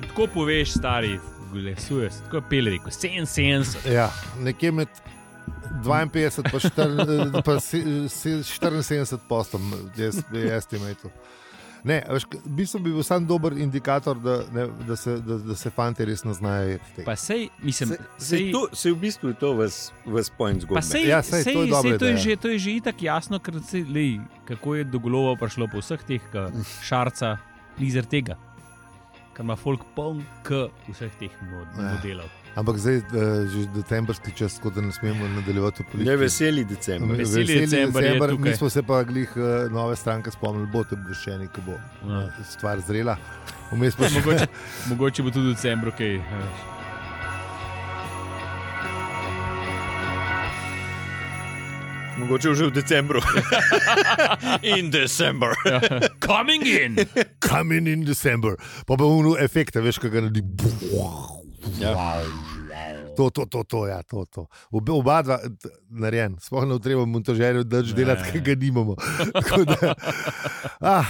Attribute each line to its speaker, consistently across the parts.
Speaker 1: težko poveš, stari, glesuje se, tako pele, rekel, sen, sen.
Speaker 2: Ja, nekje med 52 in 74 postom je estimate. Ne, veš, v bistvu bi bil sam dober indikator, da, ne, da, se, da, da se fanti resno znajo tega.
Speaker 1: Pa sej, mislim,
Speaker 3: Se, se, to, se v bistvu to vas, vas point zgodi.
Speaker 1: Pa sej,
Speaker 2: Ja,
Speaker 1: ja,
Speaker 2: saj,
Speaker 1: sej,
Speaker 2: to je
Speaker 1: sej,
Speaker 2: dobra
Speaker 1: sej, to, je
Speaker 2: ideja.
Speaker 1: že, to je že itak jasno, ker sej, lej, kako je do golova prišlo po vseh teh ka, šarca, lizer tega. Ker ima folk poln k vseh teh mod,
Speaker 2: Ja.
Speaker 1: modelov.
Speaker 2: Ampak zdaj eh, že decembrski čas, tako da ne smemo nadaljevati v
Speaker 3: Ne
Speaker 2: politiki.
Speaker 3: veseli decembr.
Speaker 1: Veseli december je tukaj.
Speaker 2: mi smo se pa glih eh, nove stranke spomnili, bo to obveščeni, ko bo
Speaker 1: Ja.
Speaker 2: eh, stvar zrela. Vmes pa še
Speaker 1: Mogoče, mogoče bo tudi v decembru kaj. eh,
Speaker 2: Mhm.
Speaker 3: Mogoče že v decembru.
Speaker 2: Ja.
Speaker 3: In december.
Speaker 1: Coming in!
Speaker 2: coming in December, pa bo unu efekte, veš, kaj ga naredi.
Speaker 3: Ja.
Speaker 2: To, to, to, to, ja, to, to. Obe, oba dva, t- narejen, sploh ne treba montažerju drž delati, ki ga nimamo. Tako da, ah,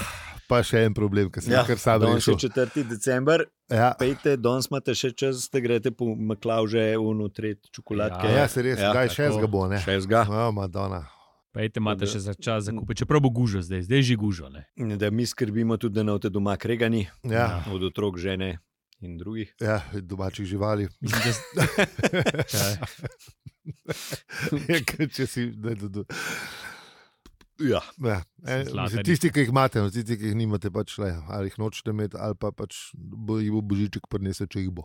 Speaker 2: pa še en problem, ki sem ja, kar sam
Speaker 3: danes je
Speaker 2: rešil.
Speaker 3: 4. december,
Speaker 2: Ja,
Speaker 3: pejte, danes imate še čas, da greste po maklavže, unutret čokoladke.
Speaker 2: ja, se res, ja, kaj še zga bo, ne?
Speaker 3: Še zga.
Speaker 2: Oh, Madonna.
Speaker 1: Pejte, imate še za čas za kupe, čeprav bo gužo zdaj, zdaj je že gužo. Ne?
Speaker 3: Da mi skrbimo tudi, da ne boste doma kregani,
Speaker 2: Ja,
Speaker 3: od otrok, žene in drugih.
Speaker 2: ja, domačih živali.
Speaker 1: Mislim, da, s- Kaj?
Speaker 2: Ja, ker Če si, da, da, da.
Speaker 3: Ja.
Speaker 2: Ja, e,
Speaker 1: Zlatarji.
Speaker 2: mislim, tisti, ki jih imate, no, tisti, ki jih nimate, pač le, ali jih nočete imeti, ali pa pač bo, jih bo božiček prinesel, če jih bo.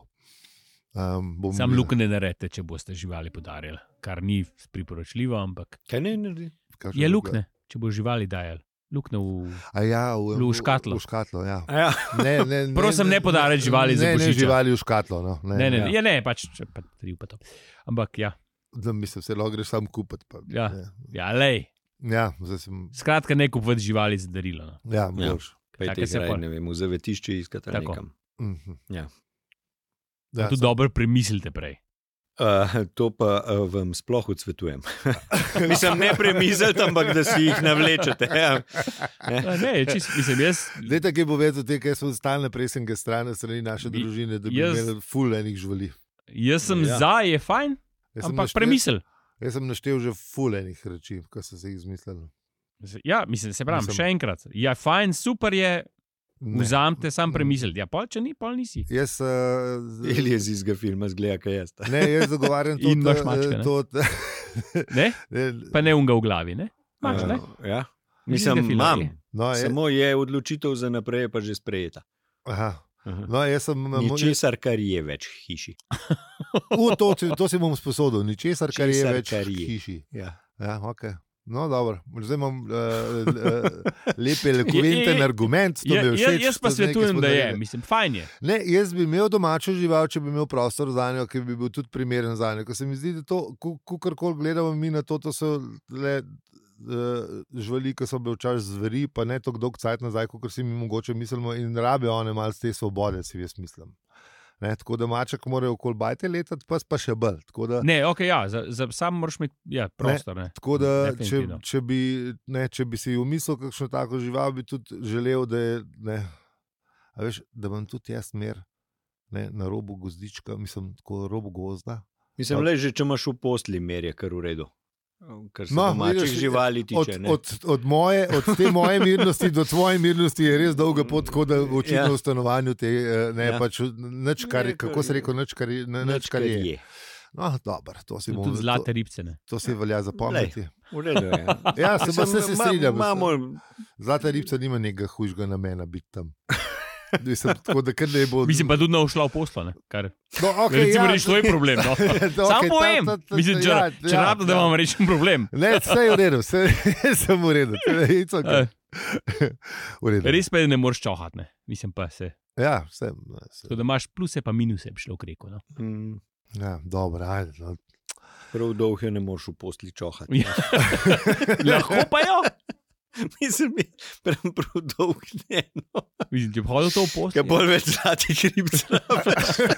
Speaker 2: Um, bom
Speaker 1: sam
Speaker 2: videl.
Speaker 1: luknje ne rete, če boste živali podarili, kar ni priporočljivo, ampak
Speaker 3: Kaj ne naredi?
Speaker 2: Kakšna
Speaker 1: je
Speaker 2: luknja?
Speaker 1: luknje, če bo živali dajali. Luknje v
Speaker 2: A Ja, v,
Speaker 1: Lu- v škatlo.
Speaker 2: V škatlo ja.
Speaker 3: Ja.
Speaker 2: ne, ne, ne,
Speaker 1: Prosim, ne podarjati živali
Speaker 2: ne,
Speaker 1: za
Speaker 2: Ne,
Speaker 1: božiček.
Speaker 2: živali v škatlo. No, ne,
Speaker 1: Ne, ne, ne,
Speaker 3: Ja.
Speaker 1: ja. ne pač če pa tri pa to. Ampak ja,
Speaker 2: Da, mislim, se lahko greš sam kupiti. Pa,
Speaker 1: Ja.
Speaker 2: ne.
Speaker 1: ja lej.
Speaker 2: ja, zdaj sem.
Speaker 1: Skratka, ne kupiti živali za darilo. No.
Speaker 2: Ja, boš.
Speaker 3: Pejte,
Speaker 1: Taka
Speaker 3: jih
Speaker 1: se
Speaker 3: raje,
Speaker 1: pol.
Speaker 3: ne vem, v zavetišče iskati ali
Speaker 1: Tako.
Speaker 3: nekam.
Speaker 2: Mhm.
Speaker 3: Ja.
Speaker 2: Ja,
Speaker 1: Tudi
Speaker 2: sem-
Speaker 1: dobro premislite prej.
Speaker 3: Uh, to pa uh, vam sploh odsvetujem. Mislim, ne premislite, ampak da si jih navlečete. Ja.
Speaker 1: Ja, ne, čist, mislim, jaz,
Speaker 2: Leta, ki bo vedel, te, kaj so stalne presenke strane, strani naše
Speaker 1: Bi-
Speaker 2: družine, da bi
Speaker 1: jaz-
Speaker 2: imeli ful enih živali.
Speaker 1: jaz sem
Speaker 3: Ja.
Speaker 1: ja. za, je fajn,
Speaker 2: Jaz sem
Speaker 1: ampak
Speaker 2: naštel-
Speaker 1: premisel.
Speaker 2: Jaz sem naštel že ful enih reči, ki so se jih izmislili.
Speaker 1: Ja, mislim, se pravim,
Speaker 2: Mislim-
Speaker 1: še enkrat. Ja, fajn, super je,
Speaker 2: Ne.
Speaker 1: vzamete sam
Speaker 2: Mm.
Speaker 1: premisliti. Ja, pa če ni, pa nisi.
Speaker 2: Jaz, uh,
Speaker 3: Ili je z izga filma, zgleda, kaj jaz.
Speaker 2: ne, jaz zagovarjam to,
Speaker 1: In imaš
Speaker 2: eh,
Speaker 1: mačke, ne?
Speaker 2: to,
Speaker 1: Ne?
Speaker 2: ne,
Speaker 1: Pa ne unga v glavi, ne? Imaš,
Speaker 3: Ja.
Speaker 1: ne?
Speaker 3: Ja.
Speaker 1: Mislim,
Speaker 3: Mislim,
Speaker 1: da filma,
Speaker 3: imam.
Speaker 1: je.
Speaker 2: no, je,
Speaker 3: Samo je odločitev za naprej pa že sprejeta.
Speaker 2: aha,
Speaker 3: Aha.
Speaker 2: no, jaz sem mo-
Speaker 3: Ničesar, kar je več hiši.
Speaker 2: U, to, si- to si bom sposodil, ničesar, kar je
Speaker 3: Česar,
Speaker 2: več
Speaker 3: kar
Speaker 2: v
Speaker 3: je.
Speaker 2: hiši.
Speaker 3: Ja.
Speaker 2: Ja, okay. No, dobro. Zdaj imam uh, lep, elokventen
Speaker 1: Je- je-
Speaker 2: argument. to
Speaker 1: Ja,
Speaker 2: mi je
Speaker 1: ja,
Speaker 2: všeč,
Speaker 1: jaz pa
Speaker 2: to zdaj, ki
Speaker 1: svetujem,
Speaker 2: smo
Speaker 1: da je,
Speaker 2: naredili.
Speaker 1: mislim, fajn je.
Speaker 2: Ne, jaz bi imel domačo žival, če bi imel prostor za njo, ki bi bil tudi primeren za njo. Ker se mi zdi, da to, kar koli gledamo mi na to, to so le uh, živali, ki so bile včasih zveri, pa ne tako dolg cajt nazaj, kot si mi mogoče mislimo, in rabijo one malce te svobode, si jaz mislim. Ne, tako da maček mora okoli bajte letati, pes pa še bolj. Tako da,
Speaker 1: Ne, ok, ja, za, za, sam moraš imeti ja, prostor. Ne.
Speaker 2: Tako da, če,
Speaker 1: Definitivno.
Speaker 2: če, bi, ne, če bi si umislil kakšno tako žival, bi tudi želel, da, je, ne, a veš, da imam tudi jaz mer ne, na robu gozdička, mislim, tako robu gozda.
Speaker 3: Mislim, le že če imaš v posli mer, je kar v redu. Kar se
Speaker 2: No,
Speaker 3: no, domačih
Speaker 2: vidiš,
Speaker 3: živali
Speaker 2: Od,
Speaker 3: tiče. ne.
Speaker 2: od, od, moje, od te moje mirnosti do tvoje mirnosti je res dolga pot, tako da očitno
Speaker 3: Ja.
Speaker 2: ja. v stanovanju te eh, ne
Speaker 3: Ja.
Speaker 2: ja. pač nič, kar je,
Speaker 3: Ne, to
Speaker 2: kako se
Speaker 3: je-
Speaker 2: reko, nič, kar je. ne, Nič, kar je. No, dobro, to si bomo
Speaker 1: Tudi
Speaker 2: to,
Speaker 1: zlate ribce. Ne.
Speaker 2: to si velja zapomniti.
Speaker 3: V redu je.
Speaker 2: Ja, se pa
Speaker 3: Mislim,
Speaker 2: se, se
Speaker 3: ma-
Speaker 2: strinjam.
Speaker 3: Imamo
Speaker 2: Zlata ribca nima nekega hujšega namena biti tam. Mislim, tako, da kar ne bo.
Speaker 1: Mislim pa tudi, da je šla v poslo. Ne, kar,
Speaker 2: no,
Speaker 1: okay,
Speaker 2: okay,
Speaker 1: recimo,
Speaker 2: ja,
Speaker 1: ja, rešilo je problem. No.
Speaker 2: to-
Speaker 1: okay, Sam
Speaker 2: okej, ta-
Speaker 1: povem,
Speaker 2: ta- ta-
Speaker 1: mislim, če,
Speaker 2: ja,
Speaker 1: ja, če
Speaker 2: ja,
Speaker 1: ja, rabim, da
Speaker 2: ja.
Speaker 1: vam rečem problem.
Speaker 2: Ne, vse je v redu, vse sem v redu. It's okay.
Speaker 1: Eh,
Speaker 2: V redu.
Speaker 1: Res pa je, ne moreš čohati, ne. mislim pa se.
Speaker 2: Ja, vse. vse.
Speaker 1: Tako da imaš pluse, pa minuse, bi šlo v reko. No.
Speaker 3: mm,
Speaker 2: Ja, dobro, ajde. No.
Speaker 3: prav dolgo, ne moreš v posli čohati.
Speaker 1: Ja. Lahko pa jo.
Speaker 3: Mislim, mi- prav, prav dolgo ne. No.
Speaker 1: Mislim, če bi hodil to v poslo.
Speaker 2: Ja,
Speaker 3: Kaj bolj več zlatih ribcev.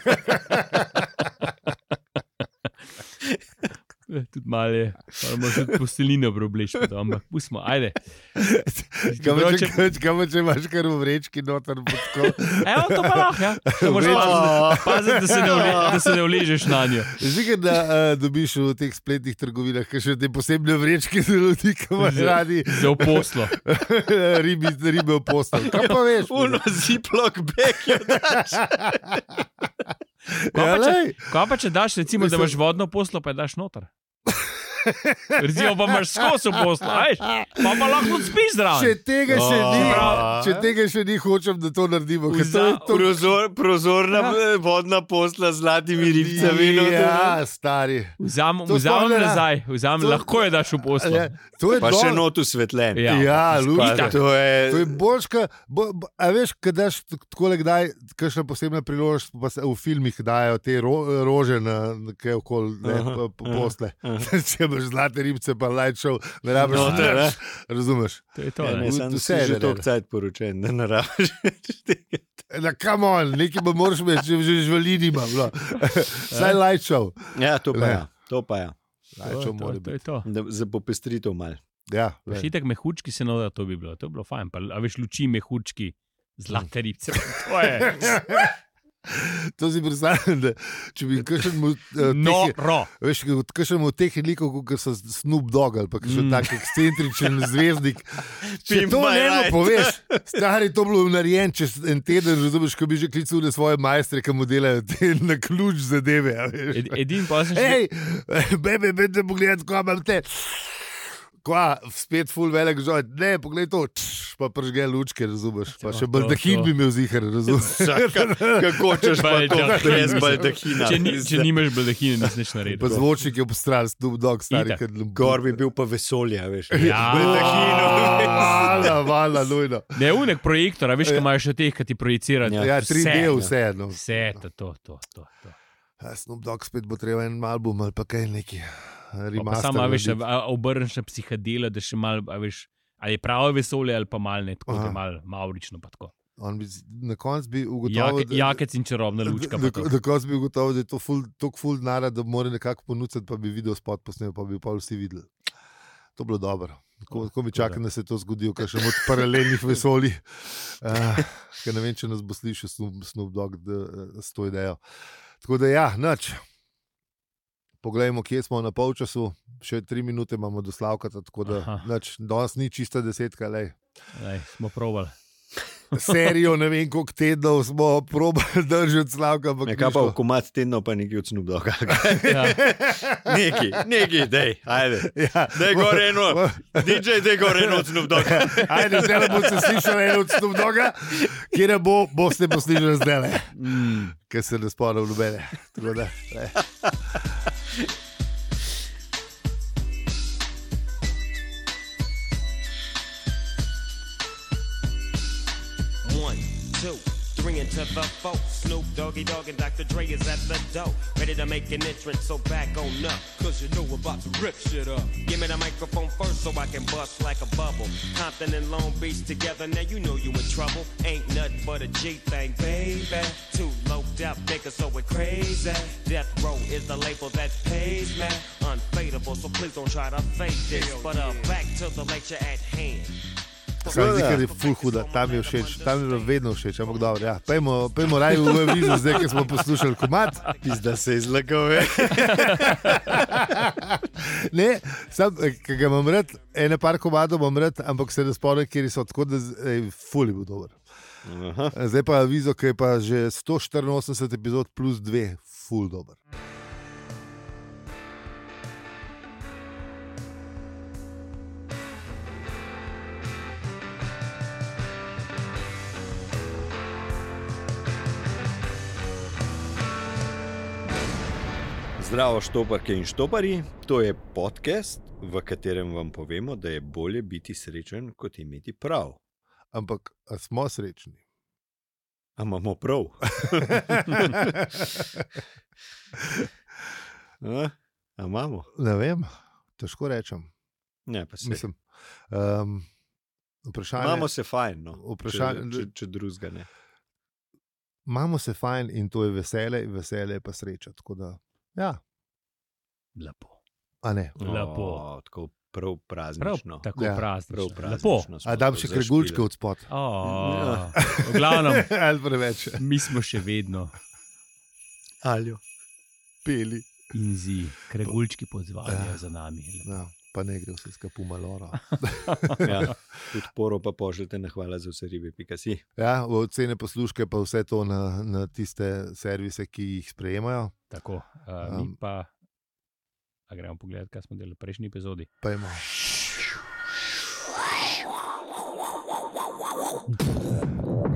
Speaker 1: eh, Tudi malje, moramo že postelino probleči, no, ampak pustimo, ajde.
Speaker 2: Kaj pa,
Speaker 1: Dobro,
Speaker 2: če, kaj- kaj pa, če imaš kar v vrečki noter, bo tako.
Speaker 1: Evo, to pa lahko, ja. To moraš paziti, paziti, da se ne vle- da se ne uležeš na njo.
Speaker 2: Že da uh, dobiš v teh spletnih trgovinah kaj še te posebne vrečke za ljudi, ki imaš
Speaker 1: Za-
Speaker 2: radi
Speaker 1: Za oposlo.
Speaker 2: ribi, ribe v postelji. Kaj pa veš?
Speaker 3: Uno ziplok bek.
Speaker 1: Kaj pa, če,
Speaker 2: Ja, lej.
Speaker 1: kaj pa če daš, recimo, da imaš vodno poslo, pa je daš noter? Recimo pa imaš skozi poslo, ajš, pa pa lahko spiš
Speaker 2: Če
Speaker 1: zraven.
Speaker 2: tega
Speaker 1: Oh.
Speaker 2: še
Speaker 3: A.
Speaker 2: ni,
Speaker 3: Prav.
Speaker 2: če tega še ni, hočem, da to naredimo. ker to je
Speaker 1: Vza-
Speaker 2: to-
Speaker 3: Prozor, prozorna ja. vodna posla z zlatimi ribcami. no,
Speaker 2: Ja, stari.
Speaker 1: Vzam,
Speaker 2: To sploh ne
Speaker 1: vzamem
Speaker 2: da.
Speaker 1: nazaj, vzam,
Speaker 2: To-
Speaker 1: lahko je daš v poslo.
Speaker 2: Ja, to je
Speaker 3: To, pa še no-
Speaker 2: dobro.
Speaker 3: not usvetljen.
Speaker 1: Ja.
Speaker 2: Ja,
Speaker 3: Pa,
Speaker 2: luška.
Speaker 3: to je,
Speaker 2: To je boljška. Bo, bo, a veš, kadaš tako le kdaj, kakšna posebna priložnost, pa se v filmih dajo te ro, rože, na, na kaj okoli ne,
Speaker 3: Aha,
Speaker 2: pa- pa
Speaker 3: aha,
Speaker 2: posle.
Speaker 3: aha.
Speaker 2: Če imaš zlate ribce, pa light show, ne rabiš
Speaker 3: No,
Speaker 2: nič,
Speaker 3: to je, ne.
Speaker 2: Razumeš?
Speaker 1: To je to.
Speaker 3: Ja,
Speaker 1: ne.
Speaker 3: ne, sam
Speaker 2: Vse
Speaker 3: si
Speaker 2: je
Speaker 3: že
Speaker 2: naredil.
Speaker 3: toliko cajt poročen, da ne rabiš več tega.
Speaker 2: Na kamon, nekaj pa moraš imeti, če že žvalini imam. No. Saj light show.
Speaker 3: Ja, to pa
Speaker 2: Ne.
Speaker 3: ja. To pa ja.
Speaker 1: To
Speaker 2: Light
Speaker 1: je
Speaker 2: show
Speaker 1: to, to je
Speaker 2: mora biti.
Speaker 1: to.
Speaker 3: Da, za popestritev mal.
Speaker 2: Ja, lej.
Speaker 1: Še tako mehučki se noda, to bi bilo, to bi bilo fajn. Pa, a veš, luči mehučki, zlate ribce. To je
Speaker 2: to si predstavljam, da če bi kakšen mu. eh,
Speaker 1: no,
Speaker 2: teh-
Speaker 1: ro.
Speaker 2: Veš, kot še v teh likov, kot so Snoop Dogg ali pa še
Speaker 1: Mm.
Speaker 2: mm. tak ekscentričen zvezdnik. Če
Speaker 3: Pimp
Speaker 2: to
Speaker 3: my
Speaker 2: ne mu
Speaker 3: ride.
Speaker 2: poveš, stari to bilo narejeno čez en teden, razumeš, ko bi že klical na svoje majstre, ki mu delajo te na ključ zadeve. a veš.
Speaker 1: Ed, edin pa sem še.
Speaker 2: Hej, bebe, bebe, pogled, ko imam te. Kva, spet ful velik žoj, ne, poglej to, tš, pa pržge lučke, razumeš,
Speaker 1: Ja,
Speaker 2: pa
Speaker 1: to,
Speaker 2: še baldahin
Speaker 1: to.
Speaker 2: bi imel zihar, razumeš.
Speaker 3: Čaka, kako hočeš pa to,
Speaker 1: Baldahina.
Speaker 3: brez baldahina.
Speaker 1: Če, ni, če nimaš baldahine, nisi nič naredil.
Speaker 2: Ja, Pa zvočnik je obstran, Snoop Dogg, stari,
Speaker 1: Itak.
Speaker 2: ker nam
Speaker 3: Gor bi bil pa vesolje, a veš.
Speaker 1: Ja.
Speaker 3: Baldahino.
Speaker 2: Vala, vala, nujno.
Speaker 1: Ne, unek projektor, a veš, kaj imaš še teh, ki ti projicirajo.
Speaker 3: Ja,
Speaker 2: Ja,
Speaker 1: Vse.
Speaker 2: 3D vseeno.
Speaker 1: Vse to, to, to. to, to.
Speaker 2: Ja, Snoop Dogg spet bo treba en album ali pa kaj neki.
Speaker 1: Pa pa Samo a veš, a- a obrneš na psihadele, da še malo, a veš, ali je pravo vesolje ali pa malo ne, tako da
Speaker 2: Aha.
Speaker 1: malo mavrično. pa tako.
Speaker 2: Na koncu
Speaker 1: Ja,
Speaker 2: bi ugotovil,
Speaker 1: Jake-
Speaker 2: da-
Speaker 1: Jakec in čarobna lučka. pa
Speaker 2: Na,
Speaker 1: to.
Speaker 2: na koncu bi ugotovil, da je to ful, tako ful nara, da mora nekako ponuditi, pa bi video spot posnel, pa bi pa vsi videli. To bilo dobro.
Speaker 1: Oh,
Speaker 2: Ko, ko bi čakali, da se to zgodi, kaj še od paralelnih vesolij. Uh, ker ne vem, če nas bo slišal Snoop, Snoop Dogg da, eh, s to idejo. Tako da ja, noč. Poglejmo, kje smo na polčasu, še tri minute imamo do slavka, tako da
Speaker 1: Aha.
Speaker 2: nič, danes ni čista desetka. Lej.
Speaker 1: Ej, Smo provali.
Speaker 2: Serijo ne vem, koliko tednov smo probali držati slavka. ampak
Speaker 3: Nekaj
Speaker 2: ni
Speaker 3: Ja, pa
Speaker 2: šlo.
Speaker 3: v komat tedno pa nekaj od Snoop Dogga.
Speaker 1: Ja.
Speaker 3: Neki, neki, dej, ajde.
Speaker 2: Ja.
Speaker 3: Dej gor eno, DJ, dej gor eno od Snoop Dogga.
Speaker 2: Ajde, zdaj le boste slišali eno od Snoop Dogga, kjer ne bo, boste poslušali zdaj le,
Speaker 1: Mm.
Speaker 2: ker se ne spomnim nobene. Tako da, eh.
Speaker 4: One, two, three into the four. Snoop Doggy Dogg and Dr. Dre is at the door. Ready to make an entrance, so back on up. Cause you know we're about to rip shit up. Give me the microphone first so I can bust like a bubble. Compton and Long Beach together, now you know you in trouble. Ain't nothing but a G thing, baby. Too low death niggas, so we're crazy. Death Row is the label that pays me. Unfadable, so please don't try to fake this. But uh, back to the lecture at hand.
Speaker 2: Sam zdi, ker je ful huda, tam je všeč, tam je bilo vedno všeč, ampak dobro. Ja. Pejmo, pejmo raje v Vizu, zdaj, ker smo poslušali komat.
Speaker 3: Pizda se je zlagal, veš.
Speaker 2: Ne, sam, eh, ki ga imam rad, ene par komadov imam rad, ampak se ne spomnim, kjer so tako, da z- ej, ful je bil dober. Zdaj pa Vizo, ki je pa že 184 epizod plus 2, ful dober.
Speaker 3: Zdravo, štoparke in štoparji. To je podcast, v katerem vam povemo, da je bolje biti srečen, kot imeti prav.
Speaker 2: Ampak a smo srečni.
Speaker 3: A imamo prav. A, a imamo?
Speaker 2: Ne vem, težko rečem.
Speaker 3: Ne, pa se.
Speaker 2: Mislim, um, vprašanje,
Speaker 3: imamo se fajn. No.
Speaker 2: Vprašanje-
Speaker 3: Če, če, če drugega ne.
Speaker 2: imamo se fajn in to je vesele, vesele je pa sreča. tako Da, ja,
Speaker 1: Lepo.
Speaker 2: a ne.
Speaker 1: Lepo.
Speaker 3: O, tako
Speaker 1: Prav,
Speaker 3: prav praznično.
Speaker 1: tako
Speaker 2: Ja.
Speaker 1: ja. praznično.
Speaker 3: prav
Speaker 1: Lepo.
Speaker 3: praznično smo
Speaker 2: A dam
Speaker 3: to
Speaker 2: še
Speaker 3: zašpilali.
Speaker 2: kregulčke od spod.
Speaker 1: Oh,
Speaker 2: Ja.
Speaker 1: v glavnem,
Speaker 2: Ali preveč.
Speaker 1: mi smo še vedno
Speaker 2: Aljo. Peli.
Speaker 1: in zi, kregulčki podzvanjajo za nami.
Speaker 2: Ja, pa ne gre vse skupaj malo.
Speaker 3: Ja, podporo pa pošljete na hvala za vse ribe, pika si.
Speaker 2: Ja, ocene posluške pa vse to na, na tiste servise, ki jih sprejemajo.
Speaker 1: Tako, uh, mi
Speaker 2: Um,
Speaker 1: pa, a gremo pogledat, kaj smo delali v prejšnji epizodi.
Speaker 2: Pa imamo.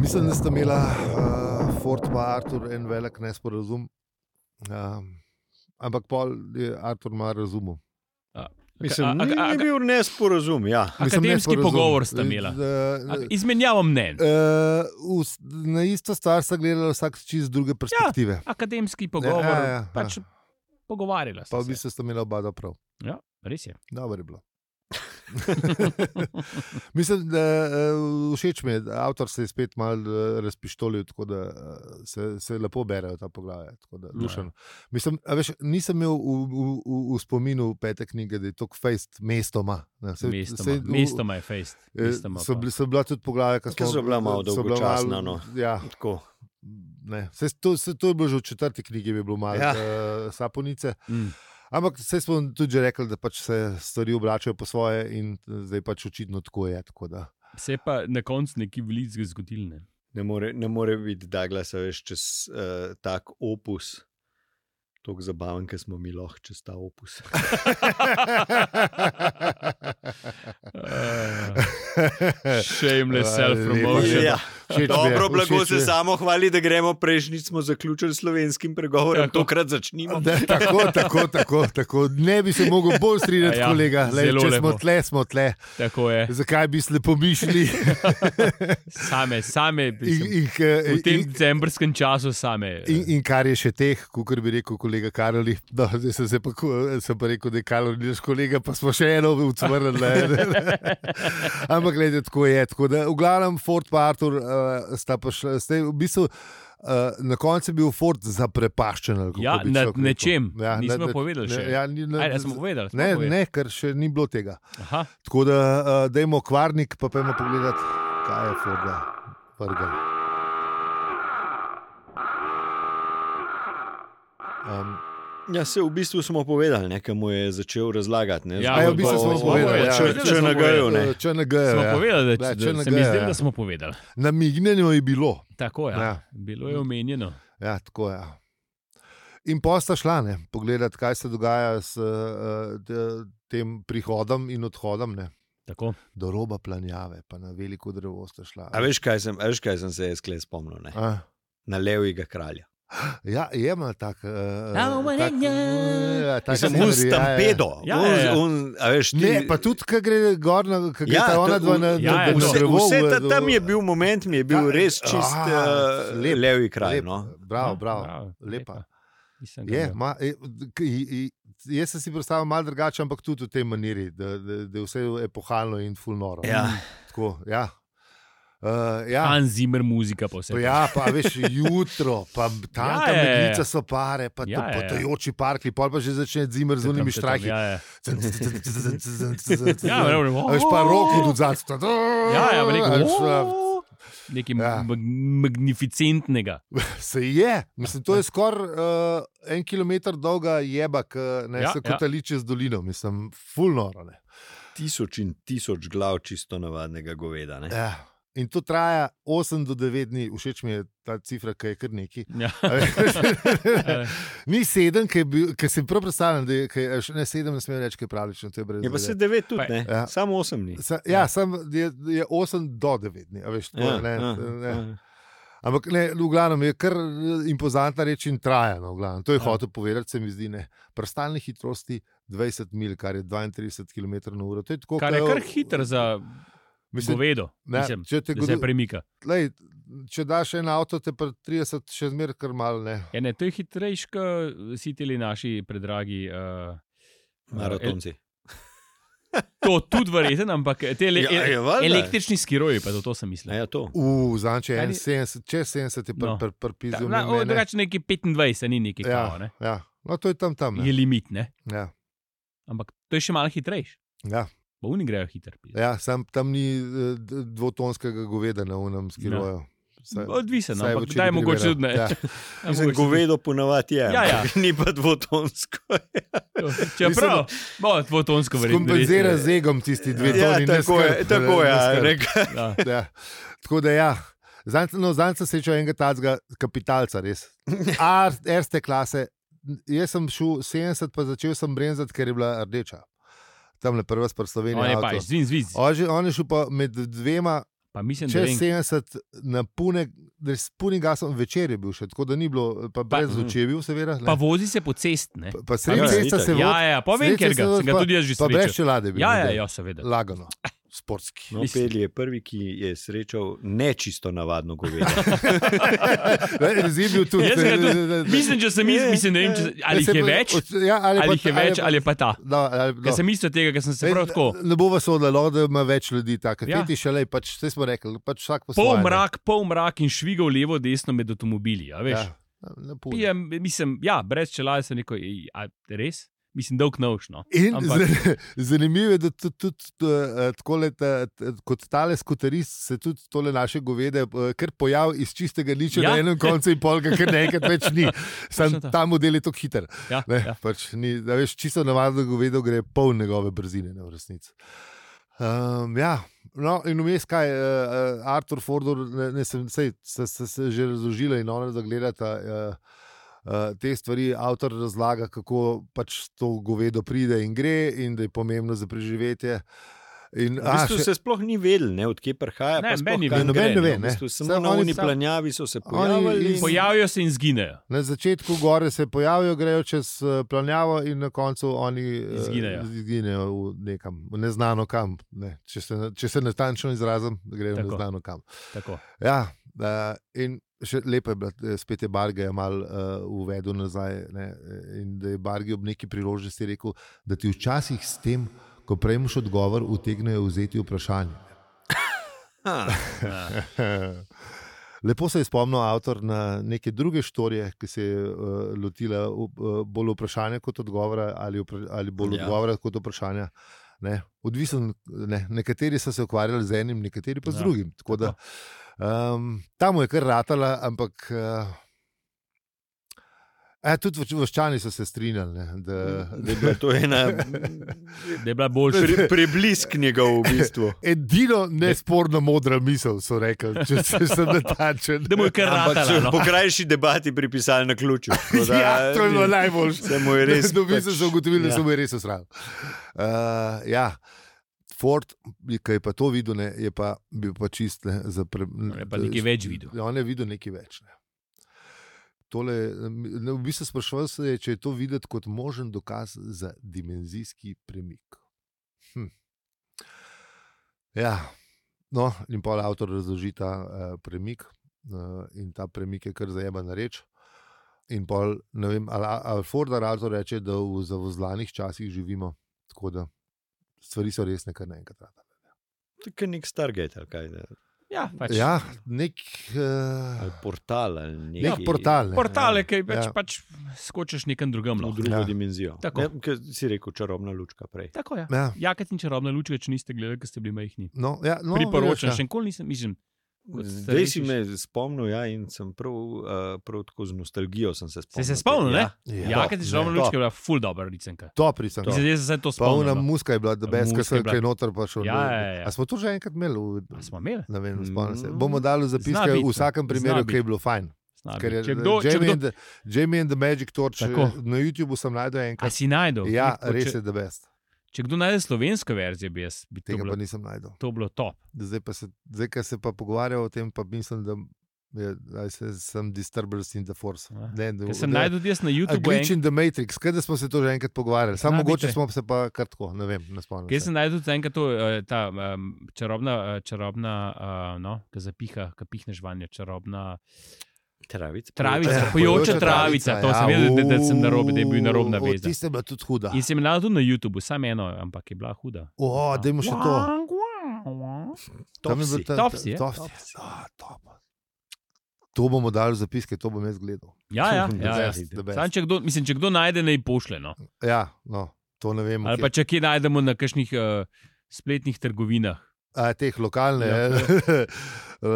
Speaker 2: Mislim, da sta imela uh, Ford in Artur en velik nesporazum. Uh, ampak pol je Artur malo razumel.
Speaker 3: Mislim,
Speaker 1: a, a,
Speaker 3: ni,
Speaker 1: a,
Speaker 3: ni bil nesporazum. Ja.
Speaker 2: Mislim,
Speaker 1: Akademski
Speaker 2: nesporazum.
Speaker 1: pogovor sta imela. a,
Speaker 2: Eh, eh,
Speaker 1: izmenjava mnen.
Speaker 2: eh, vs- Na isto stvar sta gledala vsak čist druge perspektive.
Speaker 1: Ja. Akademski pogovor,
Speaker 2: ja, ja, ja.
Speaker 1: pač pogovarjala
Speaker 2: Pa
Speaker 1: sta
Speaker 2: v
Speaker 1: se.
Speaker 2: bistvu sta imela oba dva prav.
Speaker 1: Ja, res je.
Speaker 2: Dobro je bilo. Mislim, da eh, všeč mi je, da avtor se je spet malo eh, razpištolil, tako da eh, se, se lepo berejo ta poglavja. tako
Speaker 1: Ja.
Speaker 2: da luštno. Mislim, a veš, nisem imel v, v, v, v spominu pete knjige, da je to fejst mestoma. ne. Saj-
Speaker 1: Mestoma,
Speaker 2: saj v-
Speaker 1: mestoma je fejst.
Speaker 2: eh,
Speaker 1: mestoma
Speaker 2: So,
Speaker 1: pa.
Speaker 2: bili, so bila tudi poglavja, ki
Speaker 3: Ker Ja, so bila malo
Speaker 2: so bila
Speaker 3: dolgočasna, no.
Speaker 2: Ja,
Speaker 3: Tako.
Speaker 2: ne. Saj to, saj to je bilo že v četrti knjigi, bi bilo malo ja.
Speaker 3: Ja.
Speaker 2: uh, saponice.
Speaker 1: Mm.
Speaker 2: Ampak se smo tudi že rekli, da pač se stvari obračajo po svoje, in eh, zdaj pač očitno tako je. Tako da,
Speaker 1: Se je pa na koncu neki velik zgodil. Ne?
Speaker 3: Ne more, ne more biti Douglasa več čez uh, tak opus. Tako zabaven, ki smo mi lahko čez ta opus.
Speaker 1: Uh, shameless self-promotion.
Speaker 2: Eh, Ja,
Speaker 3: Ja,
Speaker 2: všeč mi je,
Speaker 3: dobro, blago
Speaker 2: všeč mi
Speaker 3: se
Speaker 2: je.
Speaker 3: samo hvali, da gremo. Prejšnjič smo zaključili s slovenskim pregovorom,
Speaker 1: Tako.
Speaker 3: tako. tokrat začnimo.
Speaker 2: Ja, Da, tako, tako, tako, tako. Ne bi se mogel bolj strinjati,
Speaker 1: Ja,
Speaker 2: ja, kolega. Lej,
Speaker 1: zelo
Speaker 2: če smo
Speaker 1: lepo.
Speaker 2: tle, smo tle.
Speaker 1: Tako je.
Speaker 2: Zakaj bi slepo mišli?
Speaker 1: Same, same.
Speaker 2: In,
Speaker 1: Mislim,
Speaker 2: in, eh,
Speaker 1: v tem
Speaker 2: in,
Speaker 1: decembrskem času same.
Speaker 2: in, in kar je še teh, kot bi rekel kolega Karoli, no, zdaj sem, se pa, ko- sem pa rekel, da je Karoli naš kolega, pa smo še eno ucvrnili. Ampak, gledaj, tako je. Tako da, v glavnem, Ford in Artur uh, sta pa šla, ste, v bistvu, uh, na koncu je bil Ford zaprepaščen. ali kako
Speaker 1: Ja,
Speaker 2: bi
Speaker 1: nad
Speaker 2: človek rekel.
Speaker 1: nečem. Nismo
Speaker 2: nad-
Speaker 1: povedali
Speaker 2: ne,
Speaker 1: še.
Speaker 2: Ja, ni, na,
Speaker 1: Ajde, smo povedali. smo
Speaker 2: ne,
Speaker 1: povedali.
Speaker 2: ne, ker še ni bilo tega.
Speaker 1: Aha,
Speaker 2: Tako da, uh, dajmo kvarnik, pa pojmo pogledat, kaj je Forda vrgal. Um,
Speaker 3: Ja, se v bistvu smo povedali, nekaj mu je začel razlagati. Ne,
Speaker 1: Ja,
Speaker 2: a ja, v
Speaker 1: pa-
Speaker 2: bistvu smo
Speaker 1: pa-
Speaker 2: povedali, ja.
Speaker 1: če-
Speaker 3: Čr,
Speaker 1: Povedali
Speaker 3: čr,
Speaker 1: smo
Speaker 3: na gaju, ne.
Speaker 2: Če ne gre,
Speaker 1: smo
Speaker 2: ja.
Speaker 1: povedali, da,
Speaker 2: Ja,
Speaker 1: da,
Speaker 2: če
Speaker 1: da
Speaker 2: ne
Speaker 1: se mi
Speaker 2: gre,
Speaker 1: zdi,
Speaker 2: ja.
Speaker 1: da smo povedali.
Speaker 2: Namignjeno je bilo.
Speaker 1: Tako je. Ja.
Speaker 2: Ja.
Speaker 1: Bilo je omenjeno.
Speaker 2: Ja, tako je. Ja. In posta šla, ne, pogledat, kaj se dogaja s uh, tem prihodom in odhodom, ne.
Speaker 1: Tako.
Speaker 2: do roba planjave, pa na veliko drevo sta šla.
Speaker 3: A veš, kaj sem, a veš, kaj sem se jaz kle spomnil? Ne?
Speaker 2: A,
Speaker 3: Na levega kralja.
Speaker 2: ja, je ima tak. ja, Uh,
Speaker 1: Ramo mnenja.
Speaker 3: Sem un stampedo.
Speaker 1: Ja, ja,
Speaker 3: un-
Speaker 1: ja.
Speaker 3: un- a veš, ti-
Speaker 2: Ne, pa tudi, ki gre gor, ki gre
Speaker 3: Ja,
Speaker 2: ta ona
Speaker 3: to-
Speaker 2: dva na,
Speaker 3: ja,
Speaker 2: na,
Speaker 1: ja,
Speaker 2: na
Speaker 3: Vse,
Speaker 2: drevo.
Speaker 3: vse
Speaker 2: v-
Speaker 3: ta,
Speaker 2: do-
Speaker 3: tam je bil moment, mi je
Speaker 2: Ja,
Speaker 3: bil res čist
Speaker 2: ah,
Speaker 3: uh,
Speaker 2: lep,
Speaker 3: levi kraj.
Speaker 2: lep,
Speaker 3: No?
Speaker 2: Bravo, bravo. lepa.
Speaker 1: Ja, Nisem ga
Speaker 2: Je,
Speaker 1: imel.
Speaker 2: ma, je, k- i- i- jaz sem si predstavljal malo drugače, ampak tudi v tej maniri, da, da, da je vse epohalno in fulnoro.
Speaker 3: Ja.
Speaker 2: Tako, ja. Uh, ja.
Speaker 1: Hans Zimmer, muzika pa vse.
Speaker 2: Pa Ja, pa veš, jutro, pa tanka
Speaker 1: Ja, ja,
Speaker 2: ja,
Speaker 1: ja.
Speaker 2: meglica so pare, pa
Speaker 1: Ja,
Speaker 2: ja,
Speaker 1: ja, ja.
Speaker 2: potajoči parki, pol pa že začne zimmer z
Speaker 1: Tam,
Speaker 2: unimi
Speaker 1: tam,
Speaker 2: štrajki.
Speaker 1: Ja, ja. Ja,
Speaker 2: Ja,
Speaker 1: dobro.
Speaker 2: A veš pa roko tudi zadnji.
Speaker 1: Ja, ja, rekel,
Speaker 2: ja,
Speaker 1: Nekaj
Speaker 2: Ja.
Speaker 1: ja. magnificentnega.
Speaker 2: Se je, mislim, to je skoraj uh, en kilometr dolga jeba, ki
Speaker 1: Ja,
Speaker 2: ja, se
Speaker 1: ja.
Speaker 2: kotaliče ja. z dolino, mislim, fulnoro. ne.
Speaker 3: Tisoč in tisoč glav čisto navadnega goveda. Ne?
Speaker 2: Ja. In to traja 8 do 9 dni, všeč mi je ta cifra, ki je kar neki.
Speaker 1: Ja.
Speaker 2: Ni sedem, ki je bil- ki si prav predstavljam, da je ki je- ne sedem, ne smem reči, kaj je pravično. To je brez
Speaker 3: Je pa
Speaker 2: veze.
Speaker 3: se devet tudi,
Speaker 1: Pa-
Speaker 3: ne?
Speaker 2: Ja.
Speaker 3: samo osem dni.
Speaker 2: Sa, ja, sam je, je 8 do 9 dni, a veš, to, ja, ne, ja, ne. Ja. Ampak ne, v glavnem je kar eh, impozantna reč in trajano. To je ja. hotel povedati, se mi zdi. Ne. Pri stalni hitrosti 20 mil, kar je 32 km/h. To je tako,
Speaker 1: Kar je kar hiter za
Speaker 2: mislim,
Speaker 1: govedo.
Speaker 2: ne,
Speaker 1: Mislim,
Speaker 2: če te
Speaker 1: da se
Speaker 2: godo-
Speaker 1: premika.
Speaker 2: Lej, če daš en avto, te pri 30 še zmeraj kar malo ne.
Speaker 1: Ja, ne, to je hitrejši, kot vsi ti naši predragi. Uh,
Speaker 3: Maratonci.
Speaker 1: eh, to tudi verjeten, ampak te ele
Speaker 3: Ja, ja, valjda.
Speaker 1: električni skiroji, pa to, to sem mislil.
Speaker 3: Ja, to.
Speaker 2: Uh, Zanče
Speaker 1: Kaj
Speaker 2: je
Speaker 1: ni-
Speaker 2: 70, če 70 je
Speaker 1: No.
Speaker 2: pr, pr, pr,
Speaker 1: Ta-
Speaker 2: prpizil.
Speaker 1: na- o, Drugače neki 25, ni neki ja. kao,
Speaker 2: ja,
Speaker 1: ne?
Speaker 2: ja. No, to je tam tam.
Speaker 1: je
Speaker 2: Ne.
Speaker 1: limit. Ne?
Speaker 2: Ja.
Speaker 1: Ampak to je še malo hitrejše.
Speaker 2: Ja,
Speaker 1: Pa oni grejo hitro. Ja,
Speaker 2: ja, sam tam ni eh, d- dvotonskega goveda na unem
Speaker 1: Ja.
Speaker 2: skiroju. Ja, Saj-
Speaker 1: Odvisen,
Speaker 2: saj v
Speaker 1: no, ampak
Speaker 2: oči
Speaker 1: kdaj je
Speaker 2: ne
Speaker 1: mogoče
Speaker 2: privera.
Speaker 1: tudi ne.
Speaker 2: Ja.
Speaker 1: Ampak
Speaker 3: Mislim, govedo ponavadi je,
Speaker 1: Ja, ja.
Speaker 3: ampak ni pa dvotonsko.
Speaker 1: Čeprav, bo dvotonsko verjetno.
Speaker 2: Kompenzira
Speaker 1: res
Speaker 2: z
Speaker 1: je.
Speaker 2: egom tisti dve toni.
Speaker 3: ja,
Speaker 2: ne
Speaker 3: tako je,
Speaker 2: skrb,
Speaker 3: tako
Speaker 2: ne
Speaker 3: je.
Speaker 2: skrb.
Speaker 3: Reka,
Speaker 1: Ja.
Speaker 2: Ja. Tako da ja. Zanj, no, zanj sem srečal enega tacga kapitalca, res. Ar- Erste klase. Jaz sem šel 70, pa začel sem brenzati, ker je bila rdeča. Tam le prva s
Speaker 1: On je pa,
Speaker 2: Slovenijo.
Speaker 1: zvin, zviz.
Speaker 2: On, že- on je šel pa med dvema,
Speaker 1: Pa mislim, da
Speaker 2: čez
Speaker 1: je
Speaker 2: 70, na pune, res punim gasom, večer je bil še, tako da ni bilo, pa brez
Speaker 1: mhm.
Speaker 2: oči je bil, seveda. ne.
Speaker 1: pa vozi se po cesti. ne.
Speaker 2: Pa- pa sredi
Speaker 3: Ja,
Speaker 2: cesta
Speaker 3: itak.
Speaker 2: se
Speaker 1: Ja,
Speaker 2: vodi,
Speaker 1: ja, ja, pa vem,
Speaker 2: sredi
Speaker 1: ker
Speaker 2: ceste
Speaker 1: ga,
Speaker 2: se
Speaker 1: sem ga
Speaker 2: pa-
Speaker 1: tudi jaz že
Speaker 2: pa brez
Speaker 1: srečal.
Speaker 2: čelade je bil.
Speaker 1: Ja, ja,
Speaker 2: model.
Speaker 1: ja, seveda.
Speaker 2: Lagano, sportski.
Speaker 3: No,
Speaker 1: Mislim.
Speaker 3: Pelje je prvi, ki je srečal nečisto navadno govedo.
Speaker 2: Rezibil tudi.
Speaker 1: Jaz ga tudi-
Speaker 2: ne, ne, ne.
Speaker 1: Mislim, če sem jaz, mislim, ne vem, če, ali jih je več,
Speaker 2: Ja, ali,
Speaker 1: ali
Speaker 2: pa,
Speaker 1: jih je več, ali je pa ta.
Speaker 2: No, ali,
Speaker 1: Ker sem isto tega, ker sem se prav tako.
Speaker 2: Ne bo vas odalo, da ima več ljudi, tako
Speaker 1: Ja.
Speaker 2: ja. ti šele, pač vse smo rekli, pač vsak po svoje.
Speaker 1: Pol
Speaker 2: ne.
Speaker 1: mrak, pol mrak in švigal levo, desno med avtomobili. a Veš?
Speaker 2: Ja, lepo.
Speaker 1: Ja, mislim, ja, brez čela sem rekel, ej, a res? Mislim, dolg no. nočno.
Speaker 2: In
Speaker 1: Ampak-
Speaker 2: Ampak... zanimivo je, da tudi, tudi eh, takole, ta, ta- kot tale skuterist se tudi tole naše govede eh, kar pojavi iz čistega niča
Speaker 1: Ja.
Speaker 2: ja. na enem koncu in polka, ker naenkrat več ni. Sam
Speaker 1: Točno to.
Speaker 2: ta model je tako hiter.
Speaker 1: Ja,
Speaker 2: Ne,
Speaker 1: ja.
Speaker 2: ja. pač ni, da veš, čisto navadno govedo gre pol njegove brzine, ne, v resnici. Um, ja. No, in vmes, kaj je uh, Artur Fordor, ne, ne sem sej, se, se, se že razložila in ona zagledata. Uh, Uh, te stvari avtor razlaga, kako pač to govedo pride in gre, in da je pomembno za preživetje. In,
Speaker 3: V bistvu se sploh ni vedel, ne, odkje prihaja.
Speaker 1: Ne,
Speaker 3: pa sploh
Speaker 1: meni
Speaker 3: kam
Speaker 1: ve.
Speaker 2: Noben
Speaker 3: gre, no.
Speaker 2: ne ve,
Speaker 3: V
Speaker 2: ne.
Speaker 3: bistvu,
Speaker 2: Saj
Speaker 3: samo na
Speaker 2: oni
Speaker 3: oni
Speaker 2: sam-
Speaker 3: planjavi so se
Speaker 2: Oni
Speaker 3: pojavili.
Speaker 2: in-
Speaker 1: Pojavijo se in zginejo.
Speaker 2: Na začetku gore se pojavijo, grejo čez eh, planjavo, in na koncu oni eh,
Speaker 1: Izginejo.
Speaker 2: izginejo v nekam, v neznano kam. Ne. Če, se, na- če se natančno izrazim, grejo
Speaker 1: Tako.
Speaker 2: Tako. neznano kam.
Speaker 1: Tako.
Speaker 2: Ja, uh, in še lepo je bilo, eh, spet je Barge malo uh, uvedel nazaj. Ne, eh, in da je Barge ob neki priložnosti rekel, da ti včasih s tem, ko prejmeš odgovor, utegnejo vzeti vprašanje.
Speaker 3: Ha,
Speaker 1: Ja,
Speaker 2: Lepo se je spomnil avtor na neke druge štorije, ki se je uh, lotila uh, bolj vprašanja kot odgovora, ali, vpra ali bolj
Speaker 3: Ja.
Speaker 2: ja. odgovora kot vprašanja. Ne? Odvisen, ne? nekateri so se ukvarjali z enim, nekateri pa z
Speaker 1: Ja,
Speaker 2: ja. drugim. Tako da, um, tam mu je kar ratala, ampak. Uh, E, tudi vaš- vaščani so se strinjali, ne, da,
Speaker 3: Da je bila to ena
Speaker 1: Da je bila boljša.
Speaker 3: pri, preblisk njegov v bistvu.
Speaker 2: edino nesporno modra misel, so rekli, če se sem natančen.
Speaker 1: Da mu je kar
Speaker 3: Ampak so
Speaker 1: ratala.
Speaker 3: po
Speaker 1: No.
Speaker 3: krajši debati pripisali na ključu. tako da-
Speaker 2: Ja, to je bilo najboljše.
Speaker 3: Se mu je res.
Speaker 2: Do vizu so ugotovili, da
Speaker 3: ja.
Speaker 2: so mu je res usrali. Uh, ja. Ford, ki je pa to videl, ne, je pa bil pa čist. Ne, za pre,
Speaker 1: je pa nekaj več videl.
Speaker 2: Ja, On je videl nekaj več. Ne. Tole, ne, v bistvu sprašval se je, če je to videti kot možen dokaz za dimenzijski premik. Hm. Ja, no, in pa avtor razloži ta uh, premik, uh, in ta premik je kar zajema na reč. In pol, ne vem, ali al Ford ali Alto reče, da v zavozlanih časih živimo. Tako da stvari so resne, kar naenkrat. ratale.
Speaker 3: Tako nek Stargate ali kaj. Ne?
Speaker 1: Ja, pač.
Speaker 2: Ja, nek,
Speaker 3: Ali
Speaker 2: uh,
Speaker 3: portal ali
Speaker 1: Ja,
Speaker 3: nekaj.
Speaker 2: nek portal. Ne.
Speaker 1: Portale, ki pač,
Speaker 2: Ja.
Speaker 1: pač skočiš nekam drugam. no.
Speaker 3: V
Speaker 1: lahko.
Speaker 3: drugo ja.
Speaker 2: Ja.
Speaker 3: dimenzijo.
Speaker 1: Tako.
Speaker 3: Ne, ker si rekel čarobna lučka prej.
Speaker 1: Tako je. Ja.
Speaker 2: Ja,
Speaker 1: Jakat in čarobna lučka, če niste gledali, ker ste bili majhni.
Speaker 2: no, ja, no,
Speaker 1: Priporočam,
Speaker 2: vidiš,
Speaker 1: še nikoli nisem, mislim, Kot
Speaker 3: Zdaj si
Speaker 1: starejši-
Speaker 3: me spomnil ja, in sem prav, uh, prav tako z nostalgijo sem se
Speaker 1: Se
Speaker 3: spomnil.
Speaker 1: se spomnil, ne?
Speaker 2: Ja.
Speaker 1: Ja, ker ti
Speaker 2: Ne,
Speaker 1: žal
Speaker 2: to.
Speaker 1: lučke je bila ful dobra ricenka.
Speaker 2: To prisem.
Speaker 1: Mislim, da se zdaj to
Speaker 2: Polna
Speaker 1: spomnim. no.
Speaker 2: muska je bila, da brez
Speaker 1: Muska je
Speaker 2: kar
Speaker 1: bila.
Speaker 2: je noter prišel.
Speaker 1: Ja, ja, ja.
Speaker 2: A smo to že enkrat imeli? V,
Speaker 1: A Smo imeli.
Speaker 2: ne vem, spomnim se.
Speaker 3: Mm.
Speaker 2: Bomo dali
Speaker 1: Zna
Speaker 2: zapiske
Speaker 1: biti,
Speaker 2: v
Speaker 1: no.
Speaker 2: vsakem
Speaker 1: Zna
Speaker 2: primeru,
Speaker 1: biti.
Speaker 2: ki je bilo fajn.
Speaker 1: Zna
Speaker 2: Ker je eh,
Speaker 1: biti. Če kdo, če
Speaker 2: Jamie,
Speaker 1: kdo.
Speaker 2: and the, Jamie and the Magic Torch eh,
Speaker 1: Tako.
Speaker 2: na YouTubu sem najdel
Speaker 1: A
Speaker 2: enkrat.
Speaker 1: si najdel?
Speaker 2: Ja,
Speaker 1: Tako,
Speaker 2: res
Speaker 1: Če,
Speaker 2: je, da best.
Speaker 1: če kdo najde slovensko verzijo, bi jaz bi to
Speaker 2: Tega
Speaker 1: bilo,
Speaker 2: pa nisem najdel.
Speaker 1: to bilo top.
Speaker 2: Zdaj, pa se, zdaj ko se pa pogovarjamo o tem, pa mislim, da je, da se, sem disturbance in the force.
Speaker 1: Ja.
Speaker 2: Ne, da,
Speaker 1: Ker sem
Speaker 2: da,
Speaker 1: najdel jaz na YouTubu,
Speaker 2: Glitch
Speaker 1: en-
Speaker 2: in the Matrix, kaj da smo se to že enkrat pogovarjali, samo
Speaker 1: Zna biti,
Speaker 2: mogoče
Speaker 1: ej.
Speaker 2: smo se pa kar tako, ne vem, ne spomnim.
Speaker 1: kjer
Speaker 2: se.
Speaker 1: sem najdel tudi enkrat to, eh, ta um, čarobna, eh, čarobna uh, no, ki zapiha, ki pihneš vanjo, čarobna
Speaker 3: Travic.
Speaker 1: travica,
Speaker 2: Ja,
Speaker 1: pojoča travica. To sem vedel, da, da sem narobe, da je bil narobna
Speaker 2: uuu,
Speaker 1: veza.
Speaker 2: Tista je bila tudi huda.
Speaker 1: In sem jo najdel tudi na YouTubu, samo eno, ampak je bila huda.
Speaker 2: O, da imamo še to. Tam je
Speaker 3: Topsi.
Speaker 2: bilo ta-
Speaker 1: Topsi, je?
Speaker 2: Topsi. Ah, top. To bomo dali v zapiske, to bom jaz gledal.
Speaker 1: Ja, ja,
Speaker 3: The
Speaker 1: ja, ja.
Speaker 2: best, the best.
Speaker 1: Sam, če, kdo, mislim, če kdo najde, naj pošle. No.
Speaker 2: Ja, no. To ne vem.
Speaker 1: Ali
Speaker 2: kje-
Speaker 1: pa če kje najdemo na kakšnih uh, spletnih trgovinah.
Speaker 2: A, teh lokalne,
Speaker 3: Ja.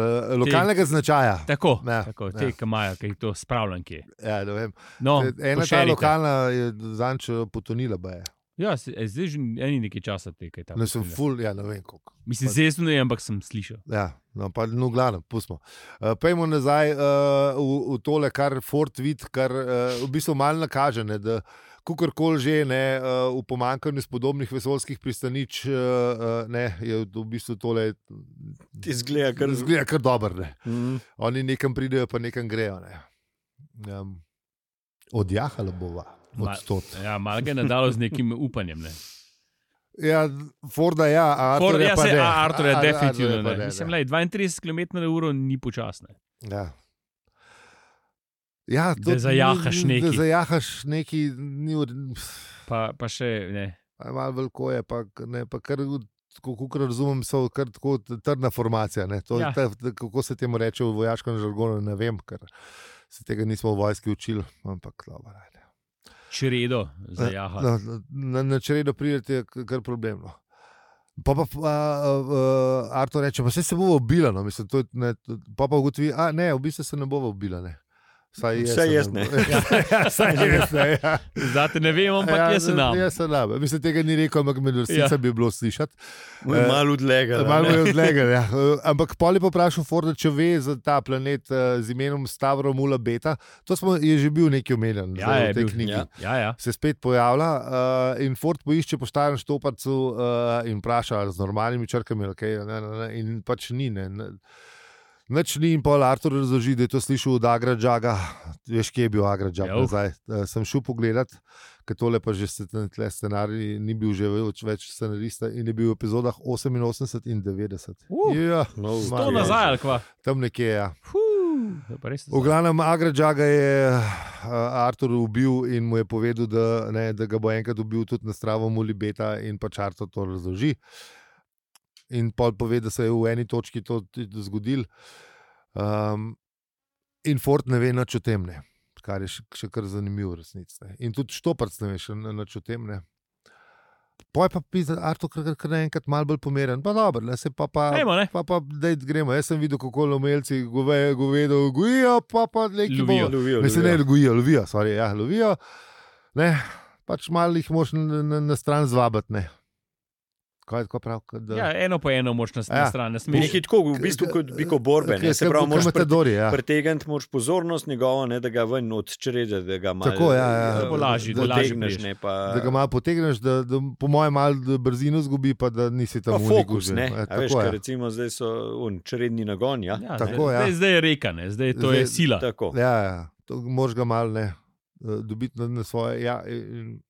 Speaker 2: eh, lokalnega značaja.
Speaker 1: Tako,
Speaker 2: Ja,
Speaker 1: ja, tako
Speaker 2: ja.
Speaker 1: te, ki imajo, ki jih to spravljam kje.
Speaker 2: Ja, ne vem.
Speaker 1: No,
Speaker 2: Ena ta
Speaker 1: pošerite.
Speaker 2: lokalna je zanč potonila. baje.
Speaker 1: Ja, se- e, zdaj že eni nekaj časa tekaj tam.
Speaker 2: Ne, sem ful, ja, ne vem koliko.
Speaker 1: Mislim, zdaj sem ne, ampak sem slišal.
Speaker 2: Ja, no, pa no, glavno, pustimo. Uh, Pejmo nazaj uh, v, v tole, kar Fort vid, kar uh, v bistvu malo nakaže, ne, da kakorkoli že ne, uh, v pomankanju spodobnih vesoljskih pristanič uh, uh, ne, je v bistvu tole.
Speaker 3: Izgleda kar zgleda.
Speaker 2: Zgleda kar dobro. Ne.
Speaker 3: Mm.
Speaker 2: Oni nekam pridejo, pa nekam grejo. Ne. Um, odjahala bova.
Speaker 1: Ma-
Speaker 2: Od tot.
Speaker 1: Ja, malo ga je nadalo z nekim upanjem. Ne.
Speaker 2: Ja, Forda, ja, a
Speaker 1: Ford, ja,
Speaker 2: Arturja pa
Speaker 1: se,
Speaker 2: ne.
Speaker 1: a, Artur je
Speaker 2: A- a-
Speaker 1: definitivno.
Speaker 2: Arturja pa ja.
Speaker 1: Ne.
Speaker 2: ne,
Speaker 1: Mislim,
Speaker 2: ne.
Speaker 1: lej, 32 km na uro ni počasno.
Speaker 2: Ja. Ja,
Speaker 1: Da
Speaker 2: tudi ni-
Speaker 1: zajahaš
Speaker 2: ni- Da
Speaker 1: neki.
Speaker 2: zajahaš neki, ni ur- pf,
Speaker 1: Pa, pa še ne.
Speaker 2: a malo veliko je, pa, k- ne, pa kar, kako razumem, so kar tako t- trdna formacija. Ne, to, ja.
Speaker 1: Ja.
Speaker 2: ta, ta, kako se temu reče v vojaškem žargonu, ne vem, ker se tega nismo v vojski učili, ampak dobro. ajde.
Speaker 1: Čredo
Speaker 2: Ja,
Speaker 1: za jaha.
Speaker 2: Na, na, na, na čredo pridete, je k- kar problemno. Pa pa a, a, a, Arto reče, pa saj se bo obila, no, mislim, to, je- ne, to, pa pa ugotovi, a ne, v bistvu se ne bo obila. Ne. Saj jaz,
Speaker 3: Vse
Speaker 2: se
Speaker 3: jaz
Speaker 2: bo-
Speaker 3: ne.
Speaker 2: ja, saj jaz ne. Ja.
Speaker 1: Zate ne vem, ampak ja, jaz sem nam.
Speaker 2: Jaz sem nam. Mislim, tega ni rekel, ampak med resnicami ja.
Speaker 1: Ja.
Speaker 2: bi bilo slišati. Eh,
Speaker 3: Malo odlega. da,
Speaker 2: Malo
Speaker 3: ne.
Speaker 2: je odlegel. Ja. Eh, Ampak pol je pa vprašal Forda, če ve za ta planet eh, z imenom Stavromula Beta. To smo, je že bil neki omenjen
Speaker 1: Ja,
Speaker 2: zdaj
Speaker 1: je
Speaker 2: v tej
Speaker 1: bil.
Speaker 2: knjigi.
Speaker 3: Ja.
Speaker 1: Ja, ja.
Speaker 2: Se spet pojavlja uh, in Ford poišče po starem štoparcu uh, in vpraša ali z normalnimi črkami. Okay, ne, ne, ne, in pač ni. Ne, ne. Noč ni in pol Artur razloži, da je to slišal od Agrađaga. Veš, kje je bil Agrađag
Speaker 1: Jav.
Speaker 2: nazaj. Uh, sem šel pogledat, ker tole pa že se ten tle scenarij ni bil že več, več scenarista in je bil v epizodah 88 in 90.
Speaker 1: Uh,
Speaker 2: ja,
Speaker 3: No,
Speaker 2: ma-
Speaker 1: To
Speaker 3: Ja.
Speaker 1: nazaj, ali kva.
Speaker 2: Tam nekje, ja.
Speaker 1: Fuu, to pa res
Speaker 2: V
Speaker 1: nazaj.
Speaker 2: glavnem, Agrađaga je uh, Artur ubil in mu je povedal, da, ne, da ga bo enkrat ubil tudi na stravo Mulibeta in pač Artur to razloži. In pol pove, da se je v eni točki to tudi zgodil. Um, in Ford ne ve nič o tem, ne. kar je še, še kar zanimivo, resnice. In tudi Štoparc ne ve še n- nič o tem. Ne. Poj pa pisa, Artur, kar, kar naenkrat malo bolj pomeren. Pa dobro, le se pa pa.
Speaker 1: Ajmo, ne?
Speaker 2: Pa, pa daj, gremo. Jaz sem videl, kako lomelci gove, govedo gojijo, pa pa neki
Speaker 1: Lovijo.
Speaker 2: bojo.
Speaker 3: Lovijo,
Speaker 2: Ne, se ne
Speaker 3: lovijo.
Speaker 2: lovijo, lovijo, sorry, ja, lovijo. Ne, pač malo jih moš na, na, na stran zvabati. Ne. Kaj je tako prav? kot Da...
Speaker 1: Ja, eno po eno moš na
Speaker 2: Ja.
Speaker 1: ja. stran, ne smeš.
Speaker 3: Nekaj tako, v bistvu kot biko borbe. Ne? Se pravi, moraš prete-
Speaker 2: matadori. Ja.
Speaker 3: pretegniti moraš pozornost njegovo, ne, da ga ven odčrede, da ga malo
Speaker 2: Tako, ja, ja.
Speaker 1: Da bo lažje, da lažje
Speaker 3: tegneš.
Speaker 1: prideš.
Speaker 3: Ne, pa,
Speaker 2: Da ga malo potegneš, da, da po mojem malo da brzino zgubi, pa da nisi tam
Speaker 3: pa
Speaker 2: v uniku
Speaker 3: fokus,
Speaker 2: že.
Speaker 3: ne.
Speaker 2: Ja,
Speaker 3: A
Speaker 2: tako,
Speaker 3: veš,
Speaker 2: ja.
Speaker 3: ker recimo zdaj so un čredni nagon, ja.
Speaker 1: Ja,
Speaker 2: Tako,
Speaker 1: zdaj,
Speaker 2: ja.
Speaker 1: zdaj, zdaj je reka, ne? zdaj to zdaj, je
Speaker 2: Zdaj-
Speaker 1: sila.
Speaker 3: Tako.
Speaker 2: Ja, ja. To moraš ga malo ne, eh, dobiti na, na svoje. Ja, in...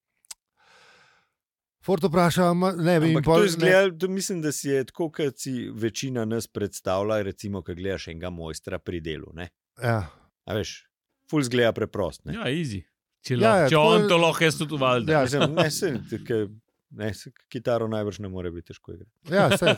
Speaker 2: Fort vpraša, "Ma- ja, ne vem,
Speaker 3: Ampak to izgleda, da mislim, da si je tako, kot si večina nas predstavlja, recimo, ko gledaš enega mojstra pri delu. Ne?
Speaker 2: Ja.
Speaker 3: A veš, ful zgleda preprost. Ne?
Speaker 1: Ja, easy. Če,
Speaker 2: Ja,
Speaker 1: ja,
Speaker 2: ja,
Speaker 1: ja, če
Speaker 2: tako je-
Speaker 1: on to lahko, jaz tudi valjda.
Speaker 2: Ja,
Speaker 3: Mislim, ne, se, tukaj, ne, se, kitaro najbrž ne more biti težko igrati.
Speaker 2: Ja, saj.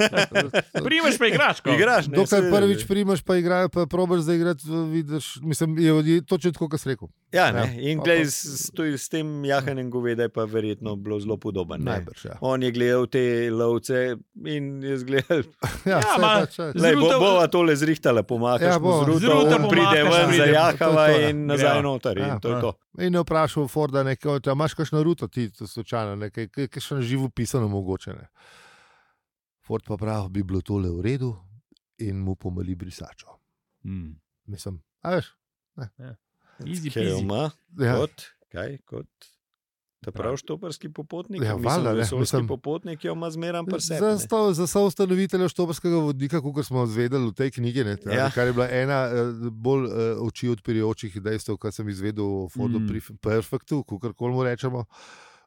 Speaker 1: Primeš pa igračko.
Speaker 3: Igraš, ne,
Speaker 2: Dokler
Speaker 3: saj-
Speaker 2: prvič primaš, pa igraš, pa probiš zaigrati, vidiš. Mislim, je, je točno tako, kot si rekel.
Speaker 3: Ja, ne,
Speaker 2: Ja,
Speaker 3: in
Speaker 2: pa-
Speaker 3: glej,
Speaker 2: pa-
Speaker 3: s, s, tuj- s tem jahanjem goveda je pa verjetno bilo zelo podoben. Ne?
Speaker 2: Najbrž. Ja,
Speaker 3: On je gledal te lovce in je zgledal,
Speaker 2: ja, saj
Speaker 1: ma-
Speaker 2: pač, ja.
Speaker 3: da bo,
Speaker 1: Zrutal-
Speaker 3: bova tole zrihtala, pomagaš
Speaker 2: Ja,
Speaker 3: ja,
Speaker 2: bova.
Speaker 3: mu z
Speaker 1: Zrutal
Speaker 3: ruto, on pride
Speaker 1: pomakaš,
Speaker 3: ven,
Speaker 1: pride.
Speaker 3: zajahava
Speaker 2: To je to, ja.
Speaker 3: in nazaj
Speaker 1: Ja.
Speaker 3: noter.
Speaker 2: Ja,
Speaker 3: In to je
Speaker 1: ja.
Speaker 3: to.
Speaker 2: In je vprašal Forda, ne, kaj, a imaš kakšno ruto, ti to slučajno, ne, kaj, kaj, kaj še na živo pisano mogoče. Ne. Ford pa pravi, bi bilo tole v redu in mu pomali brisačo.
Speaker 1: Mm.
Speaker 2: Mislim, a veš.
Speaker 1: Easy,
Speaker 3: Kaj jo
Speaker 1: peasy.
Speaker 3: ima?
Speaker 2: Ja.
Speaker 3: Kot, kaj, kot. Ta prav štoparski popotnik,
Speaker 2: Ja,
Speaker 3: ja,
Speaker 2: valjda,
Speaker 3: mislim,
Speaker 2: ne,
Speaker 3: vesoljski
Speaker 2: mislim-
Speaker 3: popotnik jo ima zmeraj pri sebi.
Speaker 2: Za,
Speaker 3: ne.
Speaker 2: sto, za soustanovitelja štoparskega vodnika, kot smo izvedeli v tej knjigi, ne, ta, ja.
Speaker 3: Ja.
Speaker 2: kar je bila ena eh, bolj eh, oči odpirajočih dejstev, kar sem izvedel o Fordu
Speaker 1: Mm.
Speaker 2: mm. Perfectu, kako koli mu rečemo,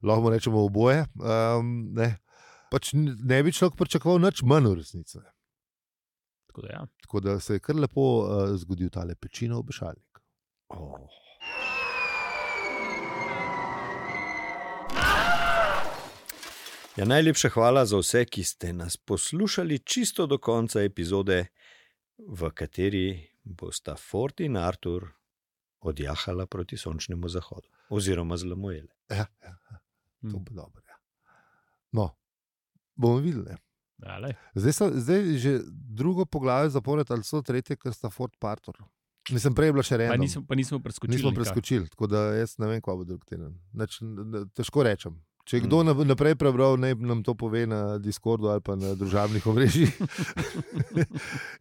Speaker 2: lahko mu rečemo oboje. Um, ne. Pač n- ne bi človek pričakoval nič manj v resnici. ne.
Speaker 1: Tako da, ja.
Speaker 2: Tako da se je kar lepo uh, zgodil ta lepečina obešalnik.
Speaker 3: Oh. Ja, najlepša hvala za vse, ki ste nas poslušali čisto do konca epizode, v kateri bosta Fort in Artur odjahala proti sončnemu zahodu, oziroma zlamujele.
Speaker 2: Ja, ja, ja. to
Speaker 1: Mm.
Speaker 2: bo dobro. Ja. No, bomo videli.
Speaker 1: Dale.
Speaker 2: Zdaj, so, zdaj že drugo poglavje zapored, ali so tretje, ker sta Fort Partor. Nisem prej bila še
Speaker 1: Pa,
Speaker 2: ena.
Speaker 1: nismo, pa nismo preskočili.
Speaker 2: Nismo
Speaker 1: nikak.
Speaker 2: preskočili, tako da jaz ne vem, kva bo drug teden. Nač, težko rečem. Če je kdo mm. naprej prebral, naj nam to pove na Discordu ali pa na družabnih omrežjih.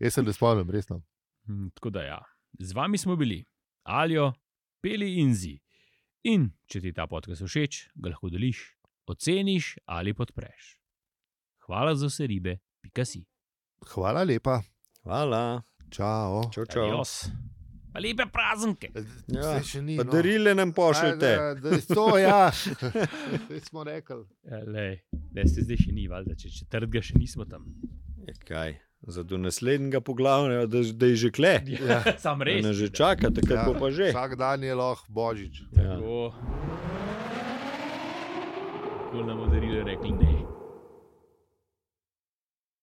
Speaker 2: jaz se ne spomnim, resno.
Speaker 1: Hm, Tako da ja. Z vami smo bili, alijo, peli in zi. In če ti ta podcast všeč, ga lahko deliš, oceniš ali podpreš. Hvala za vse ribe, pika si.
Speaker 2: Hvala lepa.
Speaker 3: Hvala,
Speaker 2: Čau.
Speaker 3: čau, čau.
Speaker 1: Adios. Pa lepe praznike.
Speaker 3: Ja,
Speaker 2: Saj še ni,
Speaker 3: pa
Speaker 2: no.
Speaker 3: darile nam pošljite.
Speaker 2: Ajde, da je To ja. Zdaj smo rekli.
Speaker 1: E, Lej, se zdaj še ni, valjda, če četrtega še nismo tam.
Speaker 3: Ja, Kaj, za do naslednjega poglavja, da, da je že kle.
Speaker 2: Ja.
Speaker 1: Sam
Speaker 3: Da
Speaker 1: res.
Speaker 3: Nas že čaka, takrat bo pa že.
Speaker 2: Vsak dan je lahko božič.
Speaker 1: Tako. Tako nam bodo rekli ne.